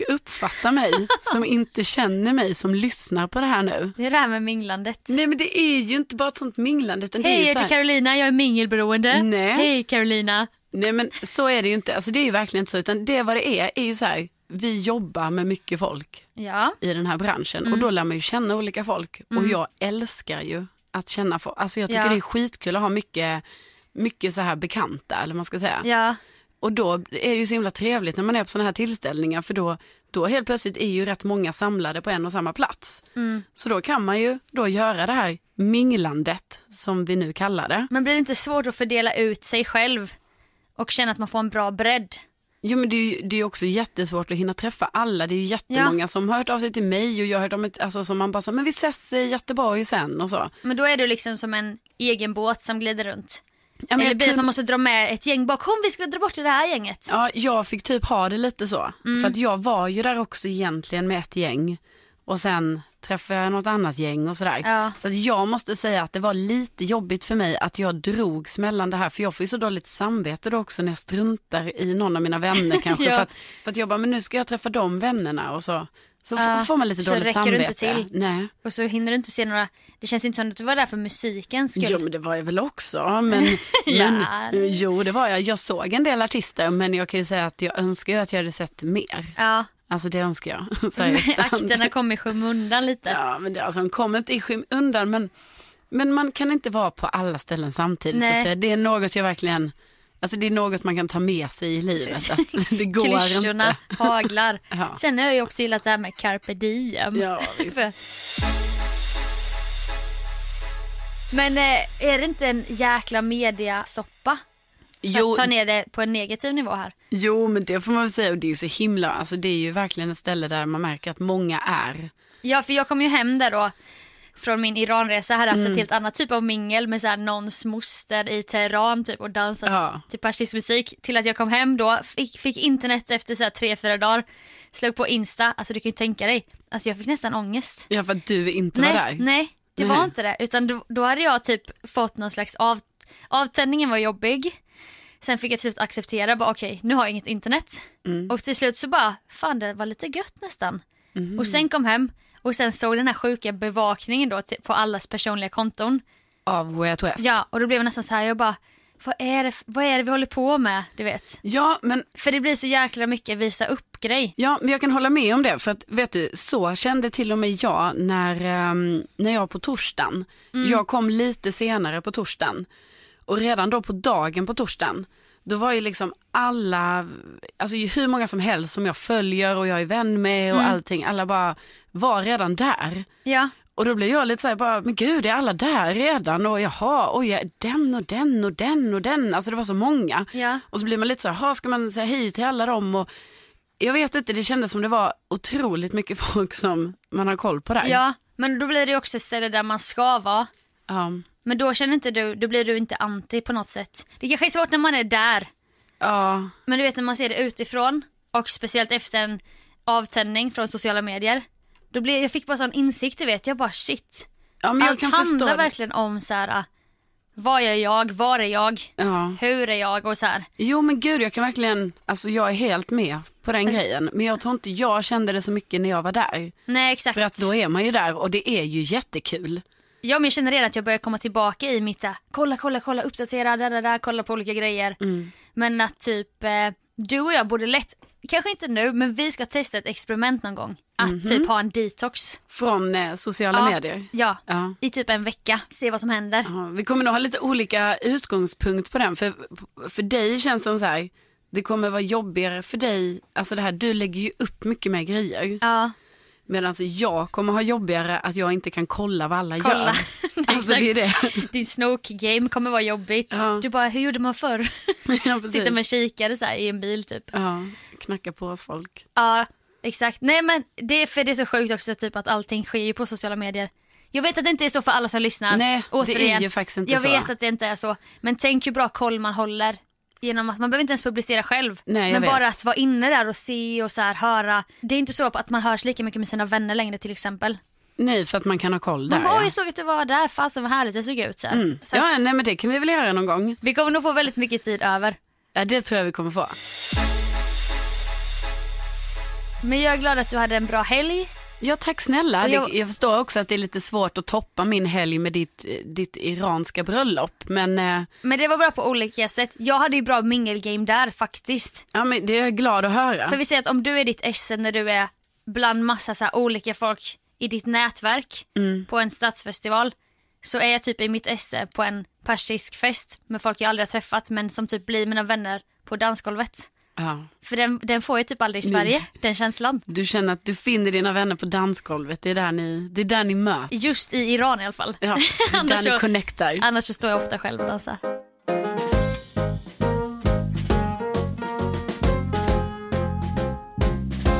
[LAUGHS] uppfatta mig som inte känner mig, som lyssnar på det här nu? Det är det här med minglandet. Nej, men det är ju inte bara ett sånt minglande, utan det Hej, är jag ju så heter här, Carolina, jag är mingelberoende. Nej. Hej Carolina. Nej men så är det ju inte, alltså det är ju verkligen inte så, utan det vad det är, är ju så här, vi jobbar med mycket folk. Ja. i den här branschen och Mm. då lär man ju känna olika folk och jag älskar ju att känna folk. Alltså jag tycker Ja. det är skitkul att ha mycket, mycket så här bekanta eller vad man ska säga. Ja. Och då är det ju så himla trevligt när man är på sådana här tillställningar för då, då helt plötsligt är ju rätt många samlade på en och samma plats. Mm. Så då kan man ju då göra det här minglandet som vi nu kallar det. Men blir det inte svårt att fördela ut sig själv och känna att man får en bra bredd? Jo men det är ju det är ju också jättesvårt att hinna träffa alla. Det är ju jättemånga som har hört av sig till mig och jag har hört om ett, alltså som man bara sa, men vi ses i Göteborg sen och så. Ja, Men då är du liksom som en egen båt som glider runt. men Eller jag blir det att kunde- man måste dra med ett gäng bakom, vi ska dra bort det här gänget. Ja, jag fick typ ha det lite så. Mm. För att jag var ju där också egentligen med ett gäng. Och sen träffade jag något annat gäng och sådär. Ja. Så att jag måste säga att det var lite jobbigt för mig att jag drogs mellan det här. För jag får ju så dåligt samvete då också när jag struntar i någon av [LAUGHS] mina vänner kanske. Ja. för, att, för att jag bara, men nu ska jag träffa de vännerna och så. Så f- Ja, får man lite så dåligt räcker du samvete. inte till. Nej. Och så hinner du inte se några, det känns inte som att du var där för musikens skull. Jo men det var jag väl också. Men, [LAUGHS] Ja. men, jo det var jag. Jag såg en del artister men jag kan ju säga att jag önskar ju att jag hade sett mer. Ja, Alltså det önskar jag. [LAUGHS] Så här i efterhand. Mm, [LAUGHS] akterna kom i skymundan lite. Ja, men det, alltså, de kommer inte i skymundan. Men, men man kan inte vara på alla ställen samtidigt. Nej. Sofia. Det är något jag verkligen, alltså det är något man kan ta med sig i livet. Att [LAUGHS] det går Klyschorna inte. haglar. [LAUGHS] Ja. Sen har jag ju också gillat det här med carpe diem. Ja, visst. Men eh, är det inte en jäkla mediasoppa? För Jo, att Ta ner det på en negativ nivå här. jo, men det får man väl säga. Och det är ju så himla, alltså det är ju verkligen ett ställe där man märker att många är. Ja, för jag kom ju hem där då från min Iranresa. Jag hade haft ett helt annat typ av mingel med så här någons moster i Teheran typ och dansat Ja. till persisk musik. Till att jag kom hem då, fick, fick internet efter så här tre, fyra dagar. Slog på Insta, alltså du kan ju tänka dig. Alltså jag fick nästan ångest. Ja, för att du inte var nej, där. nej, det Nej. var inte det. Utan då, då hade jag typ fått någon slags av, avtändningen var jobbig. Sen fick jag till slut acceptera, bara okej nu har jag inget internet. Mm. Och till slut så bara, fan det var lite gött nästan. Mm-hmm. Och sen kom hem och sen såg den här sjuka bevakningen då till, på allas personliga konton. Av Way Out West. Ja, och då blev jag nästan så här, jag bara, vad är det, vad är det vi håller på med? Du vet. ja, men För det blir så jäkla mycket visa upp-grej. Ja, men jag kan hålla med om det. För att vet du, så kände till och med jag när, ehm, när jag på torsdagen. Jag kom lite senare på torsdagen. Och redan då på dagen på torsdagen, då var ju liksom alla, alltså ju hur många som helst som jag följer och jag är vän med och allting, alla bara var redan där. Ja, Och då blev jag lite så här, bara, men gud är alla där redan? Och jaha, oj, ja, den och den och den och den. Alltså det var så många. Ja. Och så blir man lite så här, "Jaha, ska man säga hej till alla dem? Och Jag vet inte, det kändes som det var otroligt mycket [LAUGHS] folk som man har koll på där. Ja, men då blir det ju också ett ställe där man ska vara. Ja, Men då känner inte du, då blir du inte anti på något sätt. Det kanske är svårt när man är där. ja, Men du vet när man ser det utifrån och speciellt efter en avtändning från sociala medier. Då blir, jag fick bara sån insikt du vet, jag bara shit. ja men jag Allt kan förstå. handlar det. verkligen om så här, vad gör jag, var är jag, Ja. hur är jag och så här. Jo men gud jag kan verkligen, alltså jag är helt med på den grejen. Men jag tror inte jag kände det så mycket när jag var där. Nej exakt. För att då är man ju där och det är ju jättekul. Ja men jag känner redan att jag börjar komma tillbaka i mitt så här, kolla, kolla, kolla, uppdatera, där, där, där, kolla på olika grejer. Mm. Men att typ eh, du och jag borde lätt, kanske inte nu, men vi ska testa ett experiment någon gång. Att Mhm. typ ha en detox. Från eh, sociala medier. Ja, Ja. i typ en vecka. Se vad som händer. Ja, vi kommer nog ha lite olika utgångspunkt på den. För, för dig känns det som så här, det kommer vara jobbigare för dig. Alltså det här, du lägger ju upp mycket mer grejer. Ja, Medan jag kommer ha jobbigare att jag inte kan kolla vad alla kolla. [LAUGHS] gör. Alltså det är det. Exakt. [LAUGHS] Din snoke-game kommer vara jobbigt. Ja. Du bara, hur gjorde man förr? ja, [LAUGHS] precis. Sitter med kikare så här, i en bil typ. Ja, knacka på oss folk. Ja, exakt. Nej men det är för det är så sjukt också typ att allting sker ju på sociala medier. Jag vet att det inte är så för alla som lyssnar. Nej, det är ju faktiskt inte jag så. vet att det inte är så. Men tänk hur bra koll man håller. Genom att man behöver inte ens publicera själv. Nej, jag men vet. bara att vara inne där och se och så här höra. Det är inte så att man hörs lika mycket med sina vänner längre till exempel. Nej, för att man kan ha koll där. Man bara, ja. jag såg att du var där, fasen vad härligt det såg ut. Så här. Så att, Mm. ja, nej men det kan vi väl göra någon gång. Vi kommer nog få väldigt mycket tid över. Ja, det tror jag vi kommer få. Men jag är glad att du hade en bra helg. Ja, tack snälla. Och Jag... jag- Det, jag förstår också att det är lite svårt att toppa min helg med ditt, eh, ditt iranska bröllop. Men, eh, Men det var bra på olika sätt. Jag hade ju bra mingelgame där faktiskt. ja, men det är jag glad att höra. För vi säger att om du är ditt esse när du är bland massa så här olika folk i ditt nätverk Mm. på en stadsfestival så är jag typ i mitt esse på en persisk fest med folk jag aldrig har träffat men som typ blir mina vänner på dansgolvet. Ja. För den, den får jag typ aldrig i Sverige, den känslan. Du känner att du finner dina vänner på dansgolvet. Det är där ni, det är där ni möts. Just i Iran i alla fall. [LAUGHS] Ja, det är Annars där ni så- connectar. Annars så står jag ofta själv och dansar.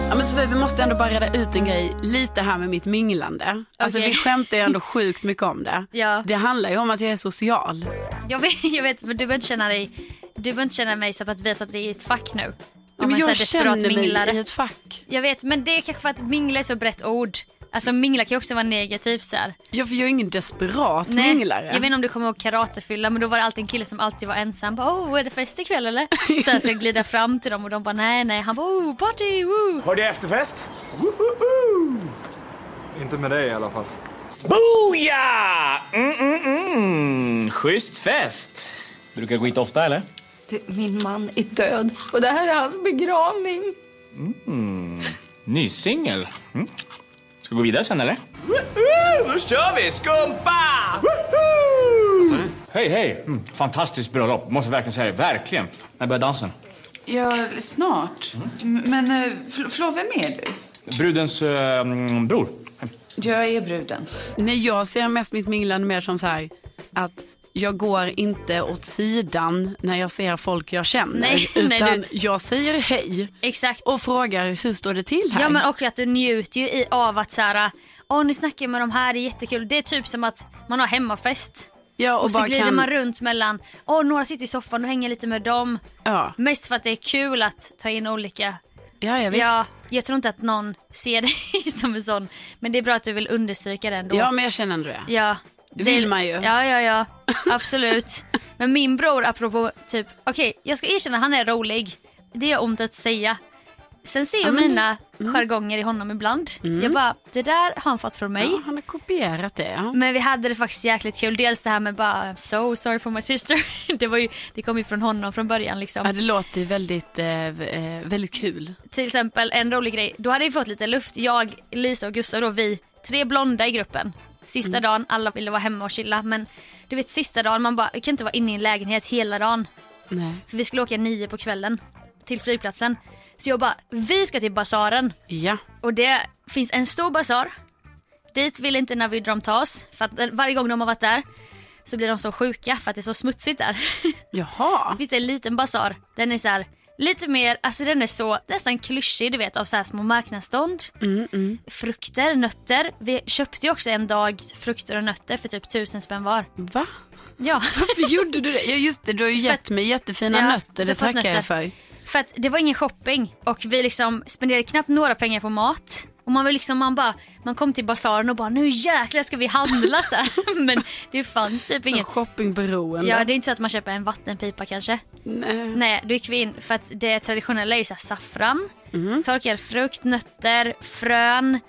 Ja, men Sofie, vi måste ändå bara reda ut en grej lite här med mitt minglande. Alltså, Okej. Vi skämtar ju [LAUGHS] ändå sjukt mycket om det. Ja. Det handlar ju om att jag är social. Jag vet, jag vet men du behöver inte känna dig, du behöver inte känna mig som att vi har satt dig i ett fack nu. Om Men en så här jag desperat känner mig minglare. i ett fack. Jag vet, men det är kanske för att mingla är så brett ord. Alltså mingla kan ju också vara negativt så här. Ja, för jag är ingen desperat Nej, minglare. Jag vet inte om du kommer ihåg karatefylla men då var det alltid en kille som alltid var ensam. Bara, oh, är det fest ikväll [LAUGHS] eller? Så jag ska glida fram till dem och de bara nej nej. Han bara oh, party, woo. Har du efterfest? Inte med dig i alla fall. Boja! Mm, mm, mm. Schysst fest. Brukar du gå hit ofta eller? Du, min man är död och det här är hans begravning. Ny singel. Mm. Ska gå vidare sen eller? Woho! Då kör vi! Skumpa! Woho! Hej hej! Mm. Fantastiskt bröllop. Måste verkligen säga det. Verkligen. När börjar dansen? Ja, snart. M- Men eh, förl- förlåt, vem är du? Brudens eh, mm, bror. Jag är bruden. Nej, jag ser mest mitt minglande mer som så här att jag går inte åt sidan när jag ser folk jag känner. Nej, [LAUGHS] nej, utan du- jag säger hej Exakt. och frågar hur står det till här? Ja men och att du njuter ju i, av att så här, åh nu snackar jag med de här, det är jättekul. Det är typ som att man har hemmafest. Ja, Och, så bara glider kan- man runt mellan, åh några sitter i soffan och hänger lite med dem. Ja, Mest för att det är kul att ta in olika ja, ja visst. Ja, Ja. jag tror inte att någon ser [LAUGHS] dig som en sån. Men det är bra att du vill understryka det ändå. men jag känner ändå det. ja. Det vill man ju. Ja, ja, [LAUGHS] ja. Absolut. Men min bror, apropå typ, okej, jag ska erkänna han är rolig. Det är ont att säga. Sen ser jag mina Mm. jargonger i honom ibland. Jag bara, det där har han fått från mig. Ja, han har kopierat det. Ja. Men vi hade det faktiskt jäkligt kul. Dels det här med bara, I'm so sorry for my sister. [LAUGHS] Det, var ju, det kom ju från honom från början liksom. Ja, det låter ju väldigt, eh, v- eh, väldigt kul. till exempel en rolig grej, då hade vi fått lite luft, jag, Lisa och Gustav då, vi tre blonda i gruppen. Sista dagen, alla ville vara hemma och chilla men du vet sista dagen, man bara, vi kan inte vara inne i en lägenhet hela dagen. Nej. För vi skulle åka nio på kvällen till flygplatsen. Så jag bara, vi ska till basaren. Ja, Och det finns en stor basar. Dit vill inte Navid de ta oss, för att varje gång de har varit där så blir de så sjuka för att det är så smutsigt där. jaha. finns det en liten basar. Den är så här Lite mer, alltså den är så nästan klyschig du vet av så här små marknadsstånd. Frukter, nötter. Vi köpte ju också en dag frukter och nötter för typ tusen spänn var. Va? Ja. Varför gjorde du det? Ja, just det, du har ju För gett att- mig jättefina Ja, du nötter. har Det fått tackar nötter. jag för. För att det var ingen shopping och vi liksom spenderade knappt några pengar på mat. Och man var liksom, man bara, man kom till basaren och bara nu jäklar ska vi handla så här. [LAUGHS] Men det fanns typ ingen. Shoppingberoende. Ja det är inte så att man köper en vattenpipa kanske. Nej. Nej då gick vi in för att det traditionella är ju så här saffran, Mhm. torkad frukt, nötter, frön.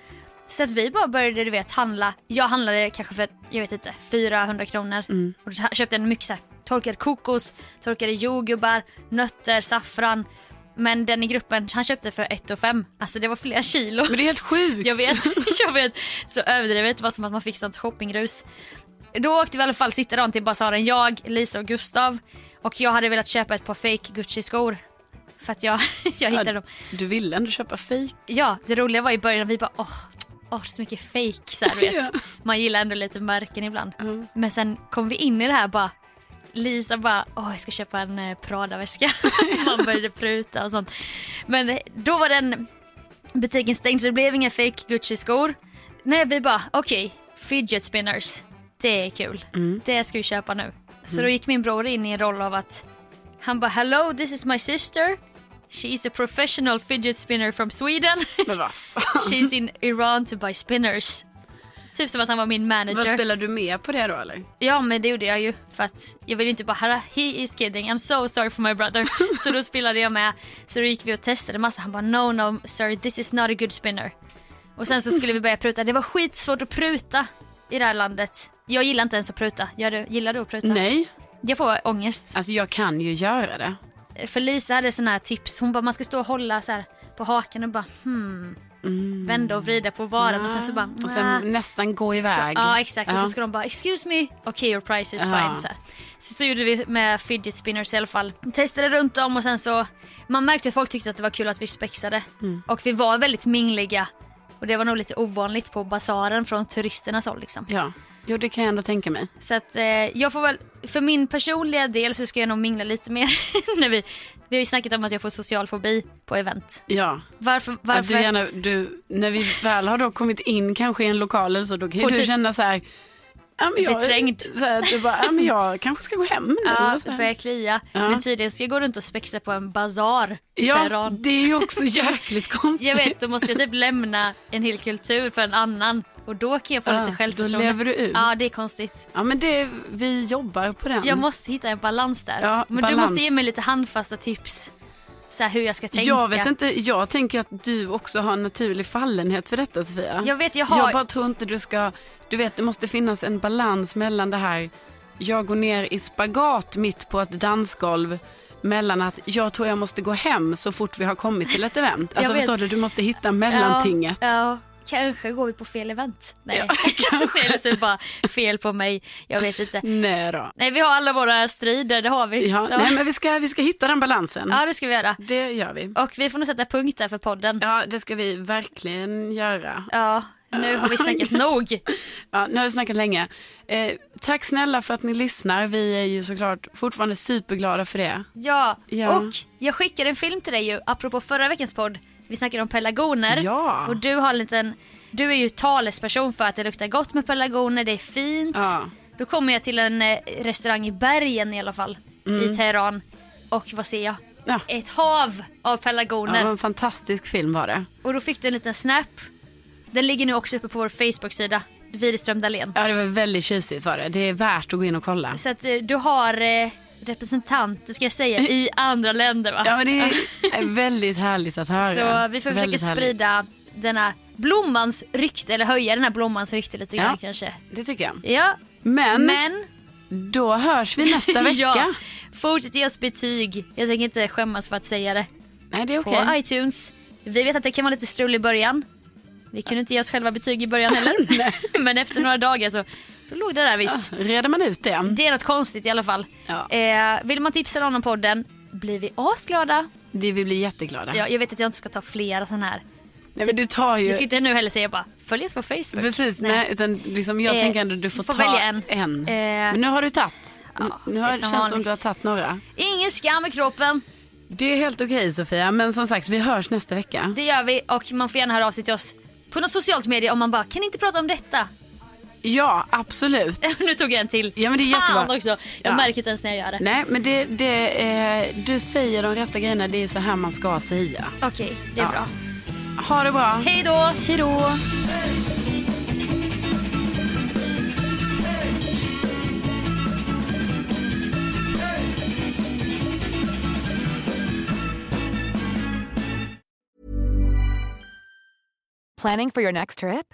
Så att vi bara började du vet handla. Jag handlade kanske för jag vet inte 400 kronor. Mm. Och så här- köpte en mycket så här, torkad kokos, torkade jordgubbar, nötter, saffran. Men den i gruppen han köpte för 1 5. Alltså det var flera kilo. Men det är helt sjukt. Jag vet, [LAUGHS] jag vet. Så överdrivet. Det var som att man fick sånt shoppingrus. Då åkte vi i alla fall sista dagen till basaren, jag, Lisa och Gustav. Och jag hade velat köpa ett par fake Gucci-skor. För att jag, [LAUGHS] jag hittade dem. Du ville ändå köpa fik. Ja, det roliga var i början, vi bara åh, åh så mycket fake så här, du vet. Ja. Man gillar ändå lite märken ibland. Men sen kom vi in i det här bara, Lisa bara, åh jag ska köpa en eh, Prada-väska. [LAUGHS] Man började pruta och sånt. Men eh, då var den butiken stängd så det blev inga fake Gucci-skor. Nej, vi bara, okej, fidget spinners. Det är kul. Mm. Det ska vi köpa nu. Så då gick min bror in i en roll av att han bara, hello this is my sister. She is a professional fidget spinner from Sweden. [LAUGHS] Men vad fan. She's in Iran to buy spinners. Typ som att han var min Vad manager. spelar du med på det då eller? Ja men det gjorde jag ju för att jag ville inte bara höra he is kidding I'm so sorry for my [LAUGHS] brother. så då spelade jag med. Så då gick vi och testade massa. Han bara no no sir this is not a good spinner. Och sen så skulle vi börja pruta. Det var skitsvårt att pruta i det här landet. Jag gillar inte ens att pruta. Gör du, gillar du att pruta? Nej, Jag får ångest. alltså jag kan ju göra det. För Lisa hade såna här tips. Hon bara man ska stå och hålla så här på hakan och bara hmm. Vända och vrida på varan och sen så bara Mm. Och sen "Nja." nästan gå iväg. Så, ja exakt. Och Ja. så ska de bara “excuse me, okay your price is Ja. fine”. Så, här. så så gjorde vi med fidget spinners i alla fall. Testade runt om och sen så, man märkte att folk tyckte att det var kul att vi spexade. Mm. Och vi var väldigt mingliga. Och det var nog lite ovanligt på basaren från turisternas håll liksom. ja. Jo, det kan jag ändå tänka mig. Så att eh, jag får väl, för min personliga del så ska jag nog mingla lite [LAUGHS] mer. när vi, vi har ju snackat om att jag får social fobi på event. Ja. Varför? Att varför? du gärna, du, när vi väl har då kommit in kanske i en lokal eller så, då kan ju På du typ- känna så här, ja, men jag, Beträngd. Så här, du bara, ja, men jag kanske ska gå hem nu. Ja, eller så det här. börjar klia. Ja. Men tydligen ska jag gå runt och spexa på en basar i ja Teheran. det är ju också jäkligt konstigt. Jag vet, då måste jag typ lämna en hel kultur för en annan och då kan jag få Ja, lite självförtroende. Ah, då lever du ut. Ja, det är konstigt. Ja, men det, vi jobbar på den. Jag måste hitta en balans där. Ja, Men du balans. måste ge mig lite handfasta tips. Så här, hur jag ska tänka. Jag vet inte, jag tänker att du också har en naturlig fallenhet för detta Sofia. Jag vet, jag har- Jag bara tror inte du ska, du vet det måste finnas en balans mellan det här, jag går ner i spagat mitt på ett dansgolv mellan att jag tror jag måste gå hem så fort vi har kommit till [LAUGHS] ett event. Alltså vet. förstår du, du måste hitta mellantinget. Ja, ja, kanske går vi på fel event. Nej, [LAUGHS] eller så är det bara fel på mig. Jag vet inte. Nej då. Nej, vi har alla våra strider, det har vi. Ja, Nej men vi ska, vi ska hitta den balansen. ja det ska vi göra. Det gör vi. Och vi får nog sätta punkt där för podden. Ja, det ska vi verkligen göra. Ja, nu har vi snackat nog. Ja, nu har vi snackat länge. Eh, tack snälla för att ni lyssnar. Vi är ju såklart fortfarande superglada för det. Ja. Ja. och jag skickade en film till dig ju, apropå förra veckans podd. Vi snackade om pelargoner. Ja. Och du har en liten, du är ju talesperson för att det luktar gott med pelargoner, det är fint. Ja. Då kommer jag till en eh, restaurang i bergen i alla fall, i Teheran. Och vad ser jag? Mm. Ja. Ett hav av Ja, det pelargoner. var en fantastisk film var det. Och då fick du en liten snap. Den ligger nu också uppe på vår Facebook-sida, Widerström Dahlén. Ja, det var väldigt tjusigt var det. Det är värt att gå in och kolla. Så att eh, du har eh, representanter ska jag säga, [LAUGHS] i andra länder va? Ja, [LAUGHS] men det är väldigt härligt att höra. Så vi får försöka Väldigt härligt. sprida denna blommans rykte, eller höja den här blommans rykte lite Ja. grann kanske. Det tycker jag. Ja, Men, men då hörs vi [LAUGHS] nästa vecka. ja, fortsätt ge oss betyg. Jag tänker inte skämmas för att säga det. Nej, det är På okej. iTunes. Vi vet att det kan vara lite strul i början. Vi kunde inte ge oss själva betyg i början [LAUGHS] heller. [LAUGHS] men efter några dagar så då låg det där visst. Reder man ut det? Det är något konstigt i alla fall. Ja. Eh, vill man tipsa någon om podden blir vi asglada. Det vi blir jätteglada. Ja, jag vet att jag inte ska ta flera sådana här. Nej, men du tar ju... Jag ska inte nu heller säga bara följ oss på Facebook. Precis, nej. utan liksom jag Eh, tänker ändå du får, får ta välja en. Eh, Men nu har du tagit. nu det har, är som känns som vanligt. du har tagit några. Ingen skam i kroppen. Det är helt okej Sofia, men som sagt vi hörs nästa vecka. Det gör vi och man får gärna höra av sig till oss på något socialt medie om man bara kan ni inte prata om detta? [LAUGHS] Ja, absolut. nu tog jag en till. Ja, men det är Fan jättebra. också. Jag Ja. märker inte ens när jag gör det. Nej, men det, det, eh, du säger de rätta grejerna. Det är ju så här man ska säga. Okej, det är Ja. bra. Ha det bra. Hej då! Hej då. Planning for your next trip?